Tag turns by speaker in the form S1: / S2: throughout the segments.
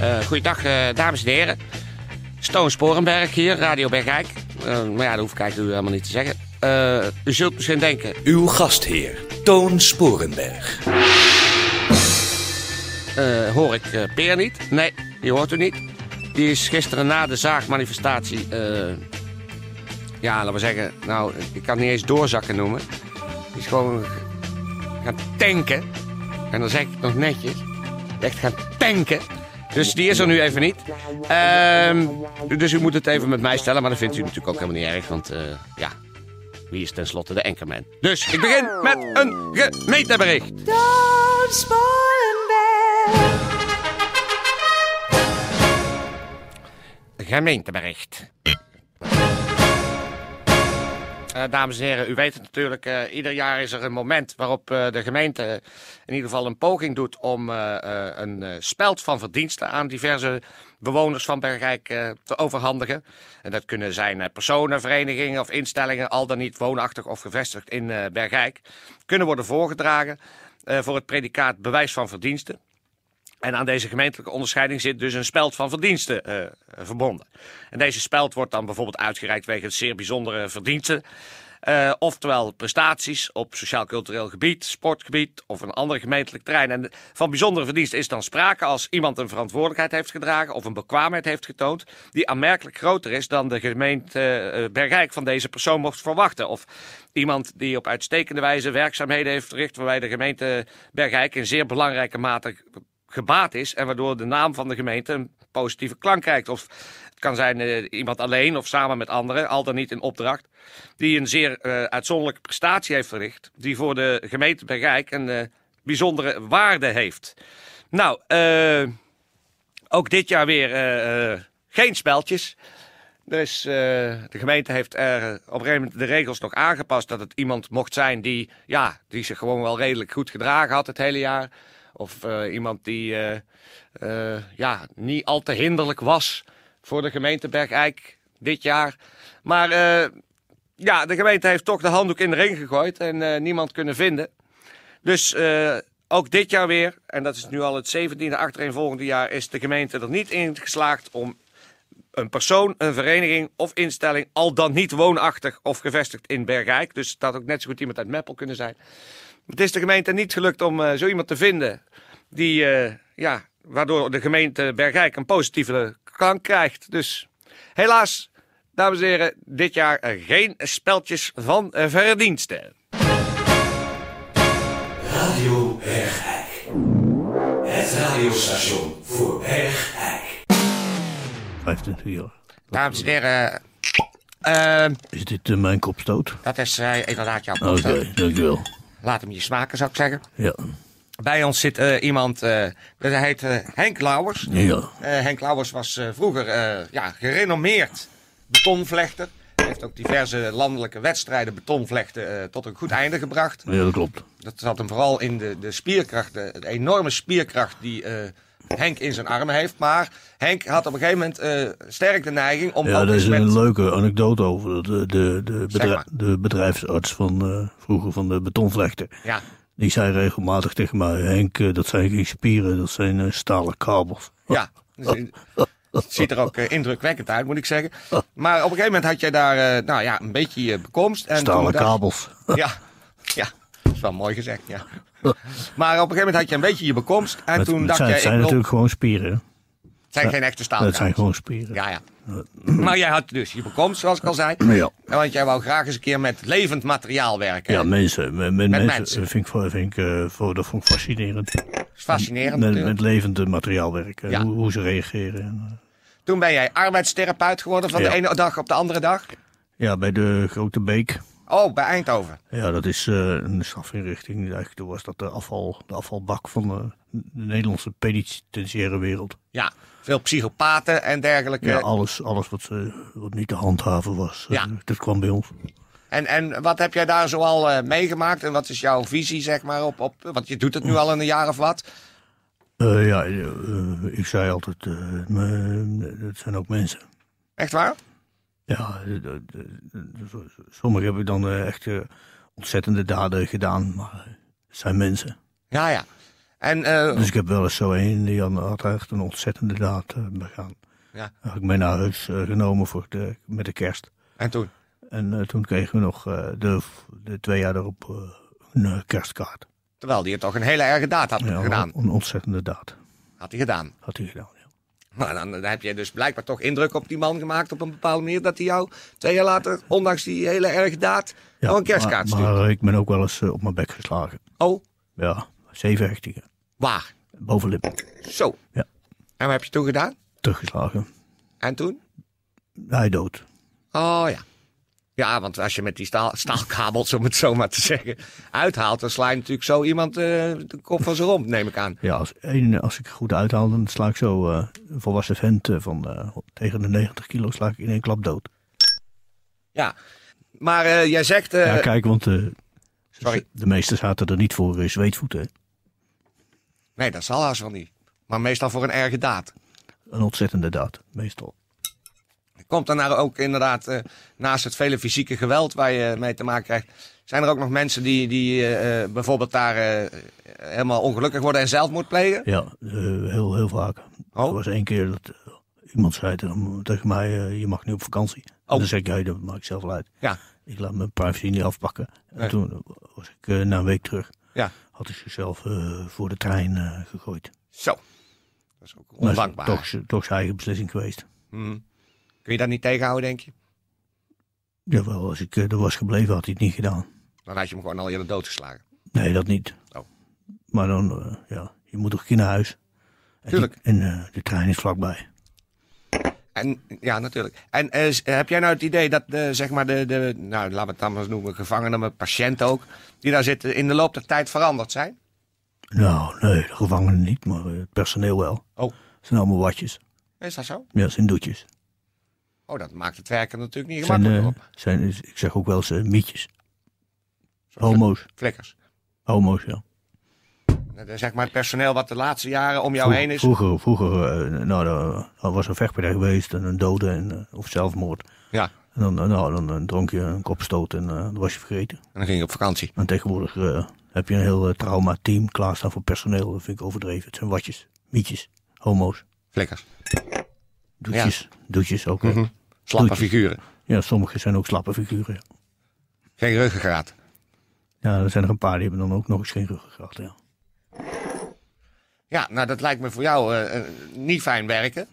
S1: Eh goeiedag, eh, dames en heren. Stoon Sporenberg hier, Radio Bergijk. Eh, maar ja, dat hoef ik eigenlijk u helemaal niet te zeggen. Eh, u zult misschien denken,
S2: Uw gastheer, Toon Sporenberg.
S1: eh, hoor ik eh, Peer niet? Nee, die hoort u niet. Die is gisteren na de zaagmanifestatie... eh, ja, laten we zeggen, nou, ik kan het niet eens doorzakken noemen. Die is gewoon gaan tanken. En dan zeg ik het nog netjes. Echt gaan tanken. Dus die is er nu even niet. Ehm, dus u moet het even met mij stellen. Maar dat vindt u natuurlijk ook helemaal niet erg. Want eh, ja, wie is tenslotte de enkerman? Dus ik begin met een gemeentebericht.
S3: Toon Sporenberg.
S1: gemeentebericht. Eh, dames en heren, u weet het natuurlijk, eh, ieder jaar is er een moment waarop eh, de gemeente in ieder geval een poging doet om eh, eh, een eh, speld van verdiensten aan diverse bewoners van Bergrijk eh, te overhandigen. En dat kunnen zijn eh, personen, verenigingen of instellingen, al dan niet woonachtig of gevestigd in eh, Bergrijk, kunnen worden voorgedragen eh, voor het predicaat bewijs van verdiensten. En aan deze gemeentelijke onderscheiding zit dus een speld van verdiensten eh, verbonden. En deze speld wordt dan bijvoorbeeld uitgereikt wegens zeer bijzondere verdiensten. eh, oftewel prestaties op sociaal-cultureel gebied, sportgebied of een ander gemeentelijk terrein. En van bijzondere verdiensten is dan sprake als iemand een verantwoordelijkheid heeft gedragen of een bekwaamheid heeft getoond die aanmerkelijk groter is dan de gemeente eh, Bergijk van deze persoon mocht verwachten. Of iemand die op uitstekende wijze werkzaamheden heeft verricht waarbij de gemeente Bergijk in zeer belangrijke mate gebaat is en waardoor de naam van de gemeente een positieve klank krijgt. Of het kan zijn eh, iemand alleen of samen met anderen, al dan niet in opdracht, die een zeer eh, uitzonderlijke prestatie heeft verricht, die voor de gemeente Bergijk een eh, bijzondere waarde heeft. Nou, eh, ook dit jaar weer eh, eh, geen speltjes. Dus eh, de gemeente heeft er eh, op een gegeven moment de regels nog aangepast dat het iemand mocht zijn die, ja, die zich gewoon wel redelijk goed gedragen had het hele jaar. Of eh, iemand die eh, eh, ja, niet al te hinderlijk was voor de gemeente Bergijk dit jaar. Maar eh, ja, de gemeente heeft toch de handdoek in de ring gegooid en eh, niemand kunnen vinden. Dus eh, ook dit jaar weer, en dat is nu al het 17e achtereenvolgende jaar, is de gemeente er niet in geslaagd om een persoon, een vereniging of instelling, al dan niet woonachtig of gevestigd in Bergijk. Dus dat had ook net zo goed iemand uit Meppel kunnen zijn. Het is de gemeente niet gelukt om eh, zo iemand te vinden die, eh, ja, waardoor de gemeente Bergijk een positieve klank krijgt. Dus helaas, dames en heren, dit jaar eh, geen speltjes van eh, verdiensten.
S2: Radio Bergijk. Het radiostation voor Bergijk.
S4: 25 jaar.
S1: Dames en heren, eh, eh,
S4: Is dit eh, mijn kopstoot?
S1: dat is eh, inderdaad jouw
S4: Oké,
S1: post.
S4: dankjewel.
S1: Laat hem je smaken, zou ik zeggen.
S4: Ja.
S1: Bij ons zit eh, iemand, eh dat heet eh, Henk Lauwers.
S4: Ja.
S1: Eh, Henk Lauwers was eh, vroeger eh, ja, gerenommeerd betonvlechter. Hij heeft ook diverse landelijke wedstrijden betonvlechten eh, tot een goed einde gebracht.
S4: ja, dat klopt.
S1: Dat zat hem vooral in de, de spierkracht, de, de enorme spierkracht die eh, Henk in zijn armen heeft. Maar Henk had op een gegeven moment eh, sterk de neiging om
S4: Ja,
S1: ook
S4: daar is
S1: eens
S4: een
S1: met...
S4: leuke anekdote over. De, de, de, bedrij-
S1: maar.
S4: de bedrijfsarts van eh, vroeger van de betonvlechter.
S1: Ja,
S4: Die zei regelmatig tegen mij: Henk, eh, dat zijn geen spieren, dat zijn eh, stalen kabels.
S1: ja. Dus, eh, het ziet er ook eh, indrukwekkend uit, moet ik zeggen. Maar op een gegeven moment had jij daar eh, nou ja, een beetje je bekomst. En toen
S4: Stalen
S1: dacht-
S4: kabels.
S1: Ja, ja. Dat is wel mooi gezegd, ja. Maar op een gegeven moment had je een beetje je bekomst. En
S4: Het,
S1: toen
S4: het
S1: dacht
S4: zijn,
S1: jij,
S4: het zijn
S1: ik wil-
S4: natuurlijk gewoon spieren. hè?
S1: het zijn geen echte
S4: Het
S1: staalkabels.
S4: zijn gewoon spieren.
S1: Ja, ja. Maar jij had dus je bekomst, zoals ik al zei.
S4: Ja.
S1: En Want jij wou graag eens een keer met levend materiaal werken.
S4: Ja,
S1: Dat
S4: mensen. Met, met
S1: Met
S4: mensen.
S1: mensen.
S4: eh, Vind ik, voor- vind ik, eh, voor, dat vond ik fascinerend.
S1: is fascinerend
S4: Met,
S1: natuurlijk.
S4: met levende materiaalwerk. eh,
S1: Ja.
S4: Hoe, hoe ze reageren. en, eh.
S1: Toen ben jij arbeidstherapeut geworden van
S4: Ja.
S1: de ene dag op de andere dag.
S4: Ja, bij de Grote Beek.
S1: Oh, bij Eindhoven.
S4: Ja, dat is eh, een strafinrichting. Eigenlijk toen was dat de, afval, de afvalbak van de, de Nederlandse penitentiaire wereld.
S5: Ja,
S1: Veel psychopaten en dergelijke.
S4: Ja, alles, alles wat, eh, wat niet te handhaven was, eh,
S5: Ja.
S4: dat kwam bij ons.
S1: En, en wat heb jij daar zoal eh, meegemaakt? En wat is jouw visie, zeg maar, op, op... Want je doet het nu al in een jaar of wat.
S4: Eh, ja, eh, eh, ik zei altijd, eh, me- het zijn ook mensen.
S1: Echt waar?
S4: Ja, eh, eh, eh, sommigen hebben dan eh, echt eh, ontzettende daden gedaan, maar eh, het zijn mensen.
S1: Ja, ja. En eh,
S4: Dus ik heb wel eens zo een, die had- had echt een ontzettende daad eh, begaan.
S1: Ja.
S4: Had ik mee naar huis eh, genomen voor de, met de kerst.
S1: En toen?
S4: En eh, toen kregen we nog eh, de, de twee jaar daarop eh, een eh, kerstkaart.
S1: Terwijl die het toch een hele erge daad had
S4: Ja,
S1: gedaan.
S4: Een ontzettende daad
S1: Had hij gedaan.
S4: had hij gedaan. Ja.
S1: Maar dan, dan heb je dus blijkbaar toch indruk op die man gemaakt op een bepaalde manier. Dat hij jou twee jaar later, ondanks die hele erge daad,
S4: Ja,
S1: nog Oh, een kerstkaart
S4: maar,
S1: stuurt.
S4: maar, eh, ik ben ook wel eens eh, op mijn bek geslagen.
S1: Oh,
S4: Ja, zeven hechtingen.
S1: waar?
S4: Bovenlip
S1: Zo.
S4: Ja.
S1: En wat heb je toen gedaan?
S4: teruggeslagen.
S1: En toen?
S4: Hij dood.
S1: Oh ja. Ja, want als je met die staal, staalkabels, om het zo maar te zeggen, uithaalt, dan sla je natuurlijk zo iemand eh, de kop van zijn romp, neem ik aan.
S4: Ja, als, één, als ik goed uithaal, dan sla ik zo eh, een volwassen vent eh, van eh, tegen de 90 kilo sla ik in één klap dood.
S1: Ja. Maar eh, jij zegt. eh,
S4: ja, kijk, want eh,
S1: sorry.
S4: de meesten zaten er niet voor eh, zweetvoeten. hè.
S1: Nee, dat zal haast wel niet. Maar meestal voor een erge daad.
S4: Een ontzettende daad, meestal.
S1: Komt daarna ook inderdaad, eh, naast het vele fysieke geweld waar je mee te maken krijgt, zijn er ook nog mensen die, die eh, eh, bijvoorbeeld daar eh, helemaal ongelukkig worden en zelfmoord plegen?
S4: Ja, eh, heel, heel vaak.
S1: Oh.
S4: Er was één keer dat eh, iemand zei tegen, tegen mij, eh, je mag nu op vakantie.
S1: Oh.
S4: En dan zeg ik, hey, dat maak ik zelf wel uit.
S1: Ja,
S4: Ik laat mijn privacy niet afpakken. En
S1: Nee.
S4: toen was ik eh, na een week terug,
S1: ja.
S4: had ik zichzelf eh, voor de trein eh, gegooid.
S1: Zo. Dat is ook
S4: Maar
S1: ondankbaar.
S4: Toch, z- toch zijn eigen beslissing geweest.
S1: Mhm. Kun je dat niet tegenhouden, denk je?
S4: Jawel, als ik eh, er was gebleven had hij het niet gedaan.
S1: Dan had je hem gewoon al eerder doodgeslagen.
S4: Nee, dat niet.
S1: Oh.
S4: Maar dan, eh, ja, je moet toch een keer naar huis. En
S1: Tuurlijk.
S4: die- en eh, de trein is vlakbij.
S1: En, ja, natuurlijk. En eh, s- heb jij nou het idee dat, eh, zeg maar, de, de, nou, laten we het dan maar eens noemen, gevangenen, maar patiënten ook, die daar zitten, in de loop der tijd veranderd zijn?
S4: Nou, nee, de gevangenen niet, maar eh, het personeel wel.
S1: Oh.
S4: Het zijn allemaal watjes.
S1: Is dat zo?
S4: Ja, het zijn doetjes.
S1: Oh, dat maakt het werken natuurlijk niet
S4: Het zijn,
S1: gemakkelijker
S4: eh,
S1: op.
S4: zijn, is- ik zeg ook wel eens eh, mietjes.
S1: Zo'n
S4: Homo's.
S1: Flikkers.
S4: Homo's,
S1: Nou,
S4: ja.
S1: Dat is Zeg maar het personeel wat de laatste jaren om jou heen is.
S4: Vroeger, vroeger eh, nou, er, er was een vechtpartij geweest en een dode en, eh, of zelfmoord.
S1: Ja,
S4: En dan, eh, nou, dan, eh, dronk je een kop stoot en eh, dan was je vergeten.
S1: en dan ging je op vakantie.
S4: En tegenwoordig eh, heb je een heel eh, trauma-team klaarstaan voor personeel. Dat vind ik overdreven. Het zijn watjes, mietjes, homo's,
S1: Flikkers.
S4: doetjes. Doetjes ook. hè.
S1: Slappe
S4: Doetjes.
S1: figuren.
S4: Ja, sommige zijn ook slappe figuren. ja.
S1: Geen ruggengraat.
S4: Ja, er zijn er een paar die hebben dan ook nog eens geen ruggengraat. Ja.
S1: Ja, nou dat lijkt me voor jou eh, eh, niet fijn werken.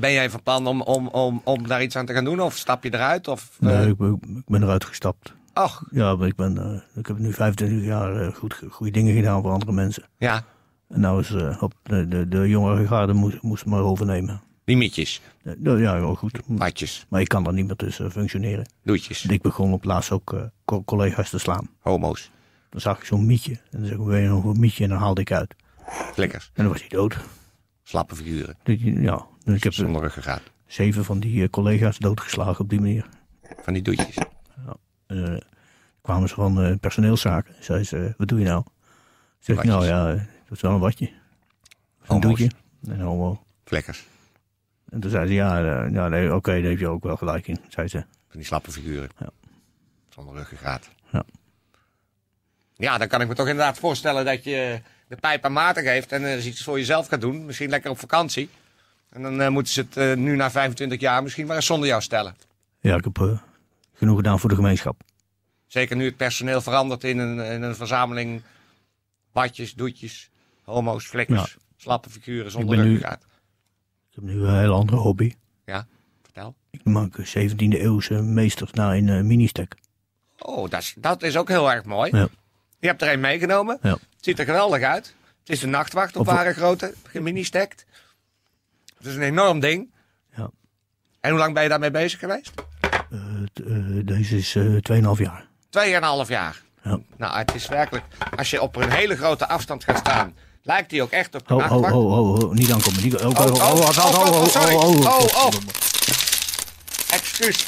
S1: Ben jij van plan om, om, om, om daar iets aan te gaan doen? Of stap je eruit? Of, eh,
S4: Nee, ik, ben, ik ben eruit gestapt.
S1: Och,
S4: Ja, maar ik, ben, eh, ik heb nu 25 jaar eh, goed, goede dingen gedaan voor andere mensen.
S1: ja,
S4: En nou is eh, op de, de, de jongere garde moest, moest het maar overnemen.
S1: die mietjes,
S4: Eh, nou Ja, heel goed.
S1: matjes,
S4: Maar ik kan daar niet meer tussen functioneren.
S1: doetjes,
S4: Ik begon op laatst ook eh, co- collega's te slaan.
S1: homo's,
S4: Dan zag ik zo'n mietje. En dan zeg ik, wil je nog een mietje? En dan haalde ik uit.
S1: flikkers,
S4: En dan was hij dood.
S1: slappe figuren,
S4: Dus, ja, dus ik heb eh,
S1: zonder ruggengraat.
S4: zeven van die eh, collega's doodgeslagen op die manier.
S1: Van die doetjes.
S4: Eh, kwamen ze van eh personeelszaken. Zei ze, eh, wat doe je nou? Zeg ik,
S1: Watjes.
S4: nou ja, eh, dat is wel een watje. Een
S1: Homo's.
S4: doetje. En homo.
S1: Flikkers,
S4: En toen zei ze, ja, eh, ja nee, oké, daar heb je ook wel gelijk in. Zei ze,
S1: van die slappe figuren.
S4: Ja.
S1: Zonder ruggengraat.
S4: Ja.
S1: Ja, dan kan ik me toch inderdaad voorstellen dat je de pijp aan maten geeft en eh iets voor jezelf gaat doen. Misschien lekker op vakantie. En dan eh, moeten ze het eh, nu na 25 jaar misschien maar eens zonder jou stellen.
S4: ja, ik heb eh, genoeg gedaan voor de gemeenschap.
S1: Zeker nu het personeel verandert in een, in een verzameling watjes, doetjes, homo's, flikkers, slappe figuren zonder
S4: ben nu-
S1: ruggengraat.
S4: Ik heb nu een hele andere hobby.
S1: Ja, vertel.
S4: Ik maak 17e eeuwse meesters na in eh, mini-stack.
S1: Oh, dat is, dat is ook heel erg mooi.
S4: Ja.
S1: Je hebt er een meegenomen.
S4: Ja.
S1: Het ziet er geweldig uit. Het is een nachtwacht op
S4: Of-
S1: ware grootte, gemini-stacked. Het is een enorm ding.
S4: Ja.
S1: En hoe lang ben je daarmee bezig geweest?
S4: Eh, t- eh, deze is eh 2,5 jaar.
S1: Tweeënhalf jaar.
S4: Ja.
S1: Nou, het is werkelijk... Als je op een hele grote afstand gaat staan... lijkt hij ook echt op een
S4: Ho, ho,
S1: nachtwacht.
S4: ho, ho, ho, niet aankomen. Niet, oh, oh, oh,
S1: Ah, oh,
S4: oh,
S1: oh,
S4: oh, oh,
S1: sorry.
S4: oh, oh,
S1: Oh, oh.
S4: godverdomme.
S1: Excuus.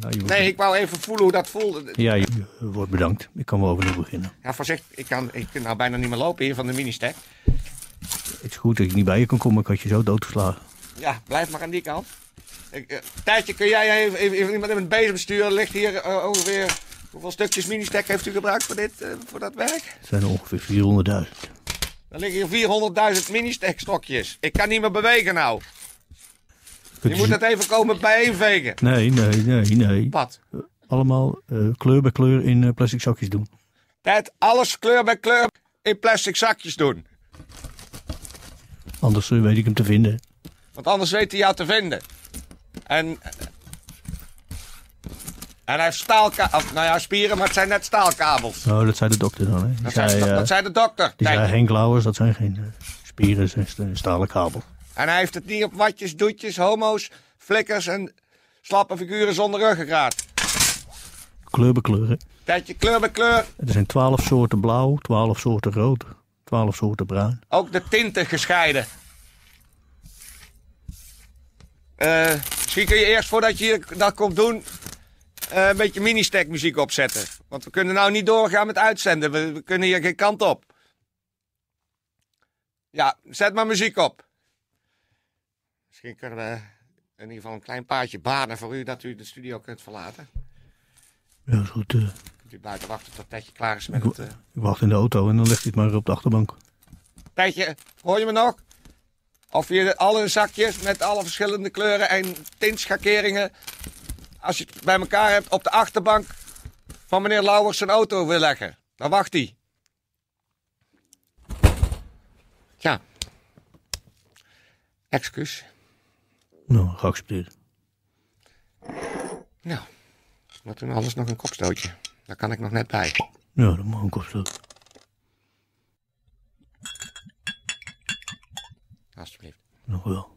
S4: Nou, je
S1: Nee,
S4: wordt-
S1: ik wou even voelen hoe dat voelde.
S4: Ja, je eh, wordt bedankt. Ik kan wel overnieuw beginnen.
S1: Ja, voorzichtig. Ik kan, ik kan nou bijna niet meer lopen hier van de minister.
S4: Het is goed dat ik niet bij je kan komen. Ik had je zo doodgeslagen.
S1: Ja, blijf maar aan die kant. Ik, eh, Tijdje, kun jij even, even, even iemand met een bezem sturen? Ligt hier eh, ongeveer... Hoeveel stukjes ministek heeft u gebruikt voor, dit, eh, voor dat werk?
S4: Het zijn er ongeveer 400.000.
S1: Er liggen hier 400.000 ministek stokjes. Ik kan niet meer bewegen nou.
S4: Kunt
S1: Je
S4: u
S1: moet
S4: ze-
S1: dat even komen bijeenvegen.
S4: Nee, nee, nee, nee.
S1: Wat?
S4: Allemaal eh, kleur bij kleur in eh, plastic zakjes doen.
S1: Tijd alles kleur bij kleur in plastic zakjes doen.
S4: Anders eh, weet ik hem te vinden.
S1: Want anders weet hij jou te vinden. En. En hij heeft staalkabels. Nou ja, spieren, maar het zijn net staalkabels.
S4: Nou, dat zei de dokter dan. Hè. Die,
S1: Dat,
S4: zei,
S1: zei,
S4: eh,
S1: dat zei de dokter.
S4: die zei
S1: Kijk,
S4: Henk Lauwers, dat zijn geen eh, spieren, dat is een stalen kabel.
S1: En hij heeft het niet op watjes, doetjes, homo's, flikkers en slappe figuren zonder ruggengraat.
S4: Kleur bij kleur. hè.
S1: Dat je kleur bij kleur
S4: Er zijn twaalf soorten blauw, twaalf soorten rood, twaalf soorten bruin.
S1: ook de tinten gescheiden. Eh, misschien kun je eerst voordat je hier dat komt doen. eh, een beetje mini-stack muziek opzetten. Want we kunnen nou niet doorgaan met uitzenden. We, we kunnen hier geen kant op. Ja, zet maar muziek op. Misschien kunnen we in ieder geval een klein paardje banen voor u dat u de studio kunt verlaten.
S4: Ja, is goed. eh,
S1: Kunt u buiten wachten tot Tetje klaar is met
S4: ik,
S1: het.
S4: wa-
S1: eh,
S4: ik wacht in de auto en dan legt hij het maar op de achterbank.
S1: Tijdje, hoor je me nog? Of je alle zakjes met alle verschillende kleuren en tintschakeringen... als je het bij elkaar hebt op de achterbank van meneer Lauwers zijn auto wil leggen. Dan wacht hij. Ja. Excuus.
S4: Nou, geaccepteerd.
S1: Nou, we doen alles nog een kopstootje. Daar kan ik nog net bij.
S4: Ja, dat mag ook op zo.
S1: Alsjeblieft.
S4: Nog wel.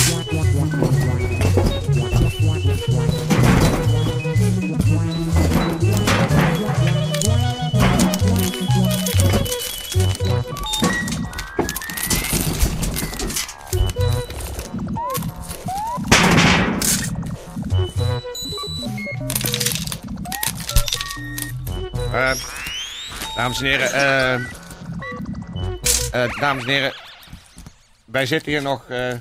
S1: Eh, dames en heren, eh, eh, dames en heren, wij zitten hier nog eh,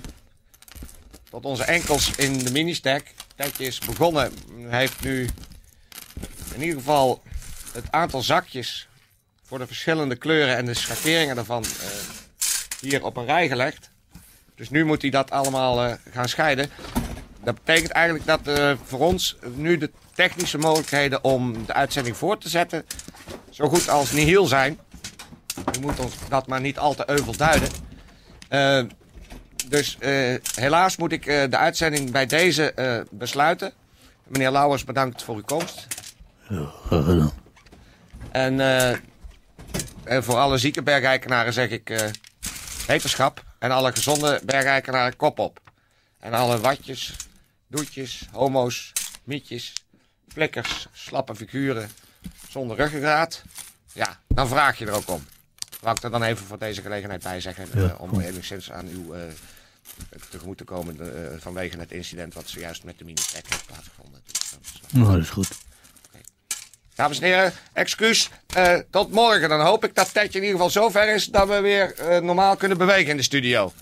S1: tot onze enkels in de mini-stack. Tijdje is begonnen. Hij heeft nu in ieder geval het aantal zakjes voor de verschillende kleuren en de schakeringen daarvan eh, hier op een rij gelegd. Dus nu moet hij dat allemaal eh, gaan scheiden. Dat betekent eigenlijk dat eh, voor ons nu de technische mogelijkheden om de uitzending voort te zetten zo goed als nihil zijn. We moeten ons dat maar niet al te euvel duiden. Eh, dus eh, helaas moet ik eh, de uitzending bij deze eh, besluiten. Meneer Lauwers, bedankt voor uw komst.
S4: Graag gedaan.
S1: En, eh, en voor alle zieke bergrijkenaren zeg ik eh, wetenschap. En alle gezonde bergrijkenaren kop op. En alle watjes, doetjes, homo's, mietjes, flikkers, slappe figuren zonder ruggengraat. Ja, dan vraag je er ook om. Wou ik er dan even voor deze gelegenheid bij zeggen. eh,
S4: Ja,
S1: om
S4: goed.
S1: enigszins aan uw eh, tegemoet te komen eh, vanwege het incident wat zojuist met de mini-tech heeft plaatsgevonden. Dus dat is-
S4: Nou, dat is goed.
S1: Dames en heren, excuus. eh, tot morgen. Dan hoop ik dat Tetje in ieder geval zo ver is dat we weer eh, normaal kunnen bewegen in de studio.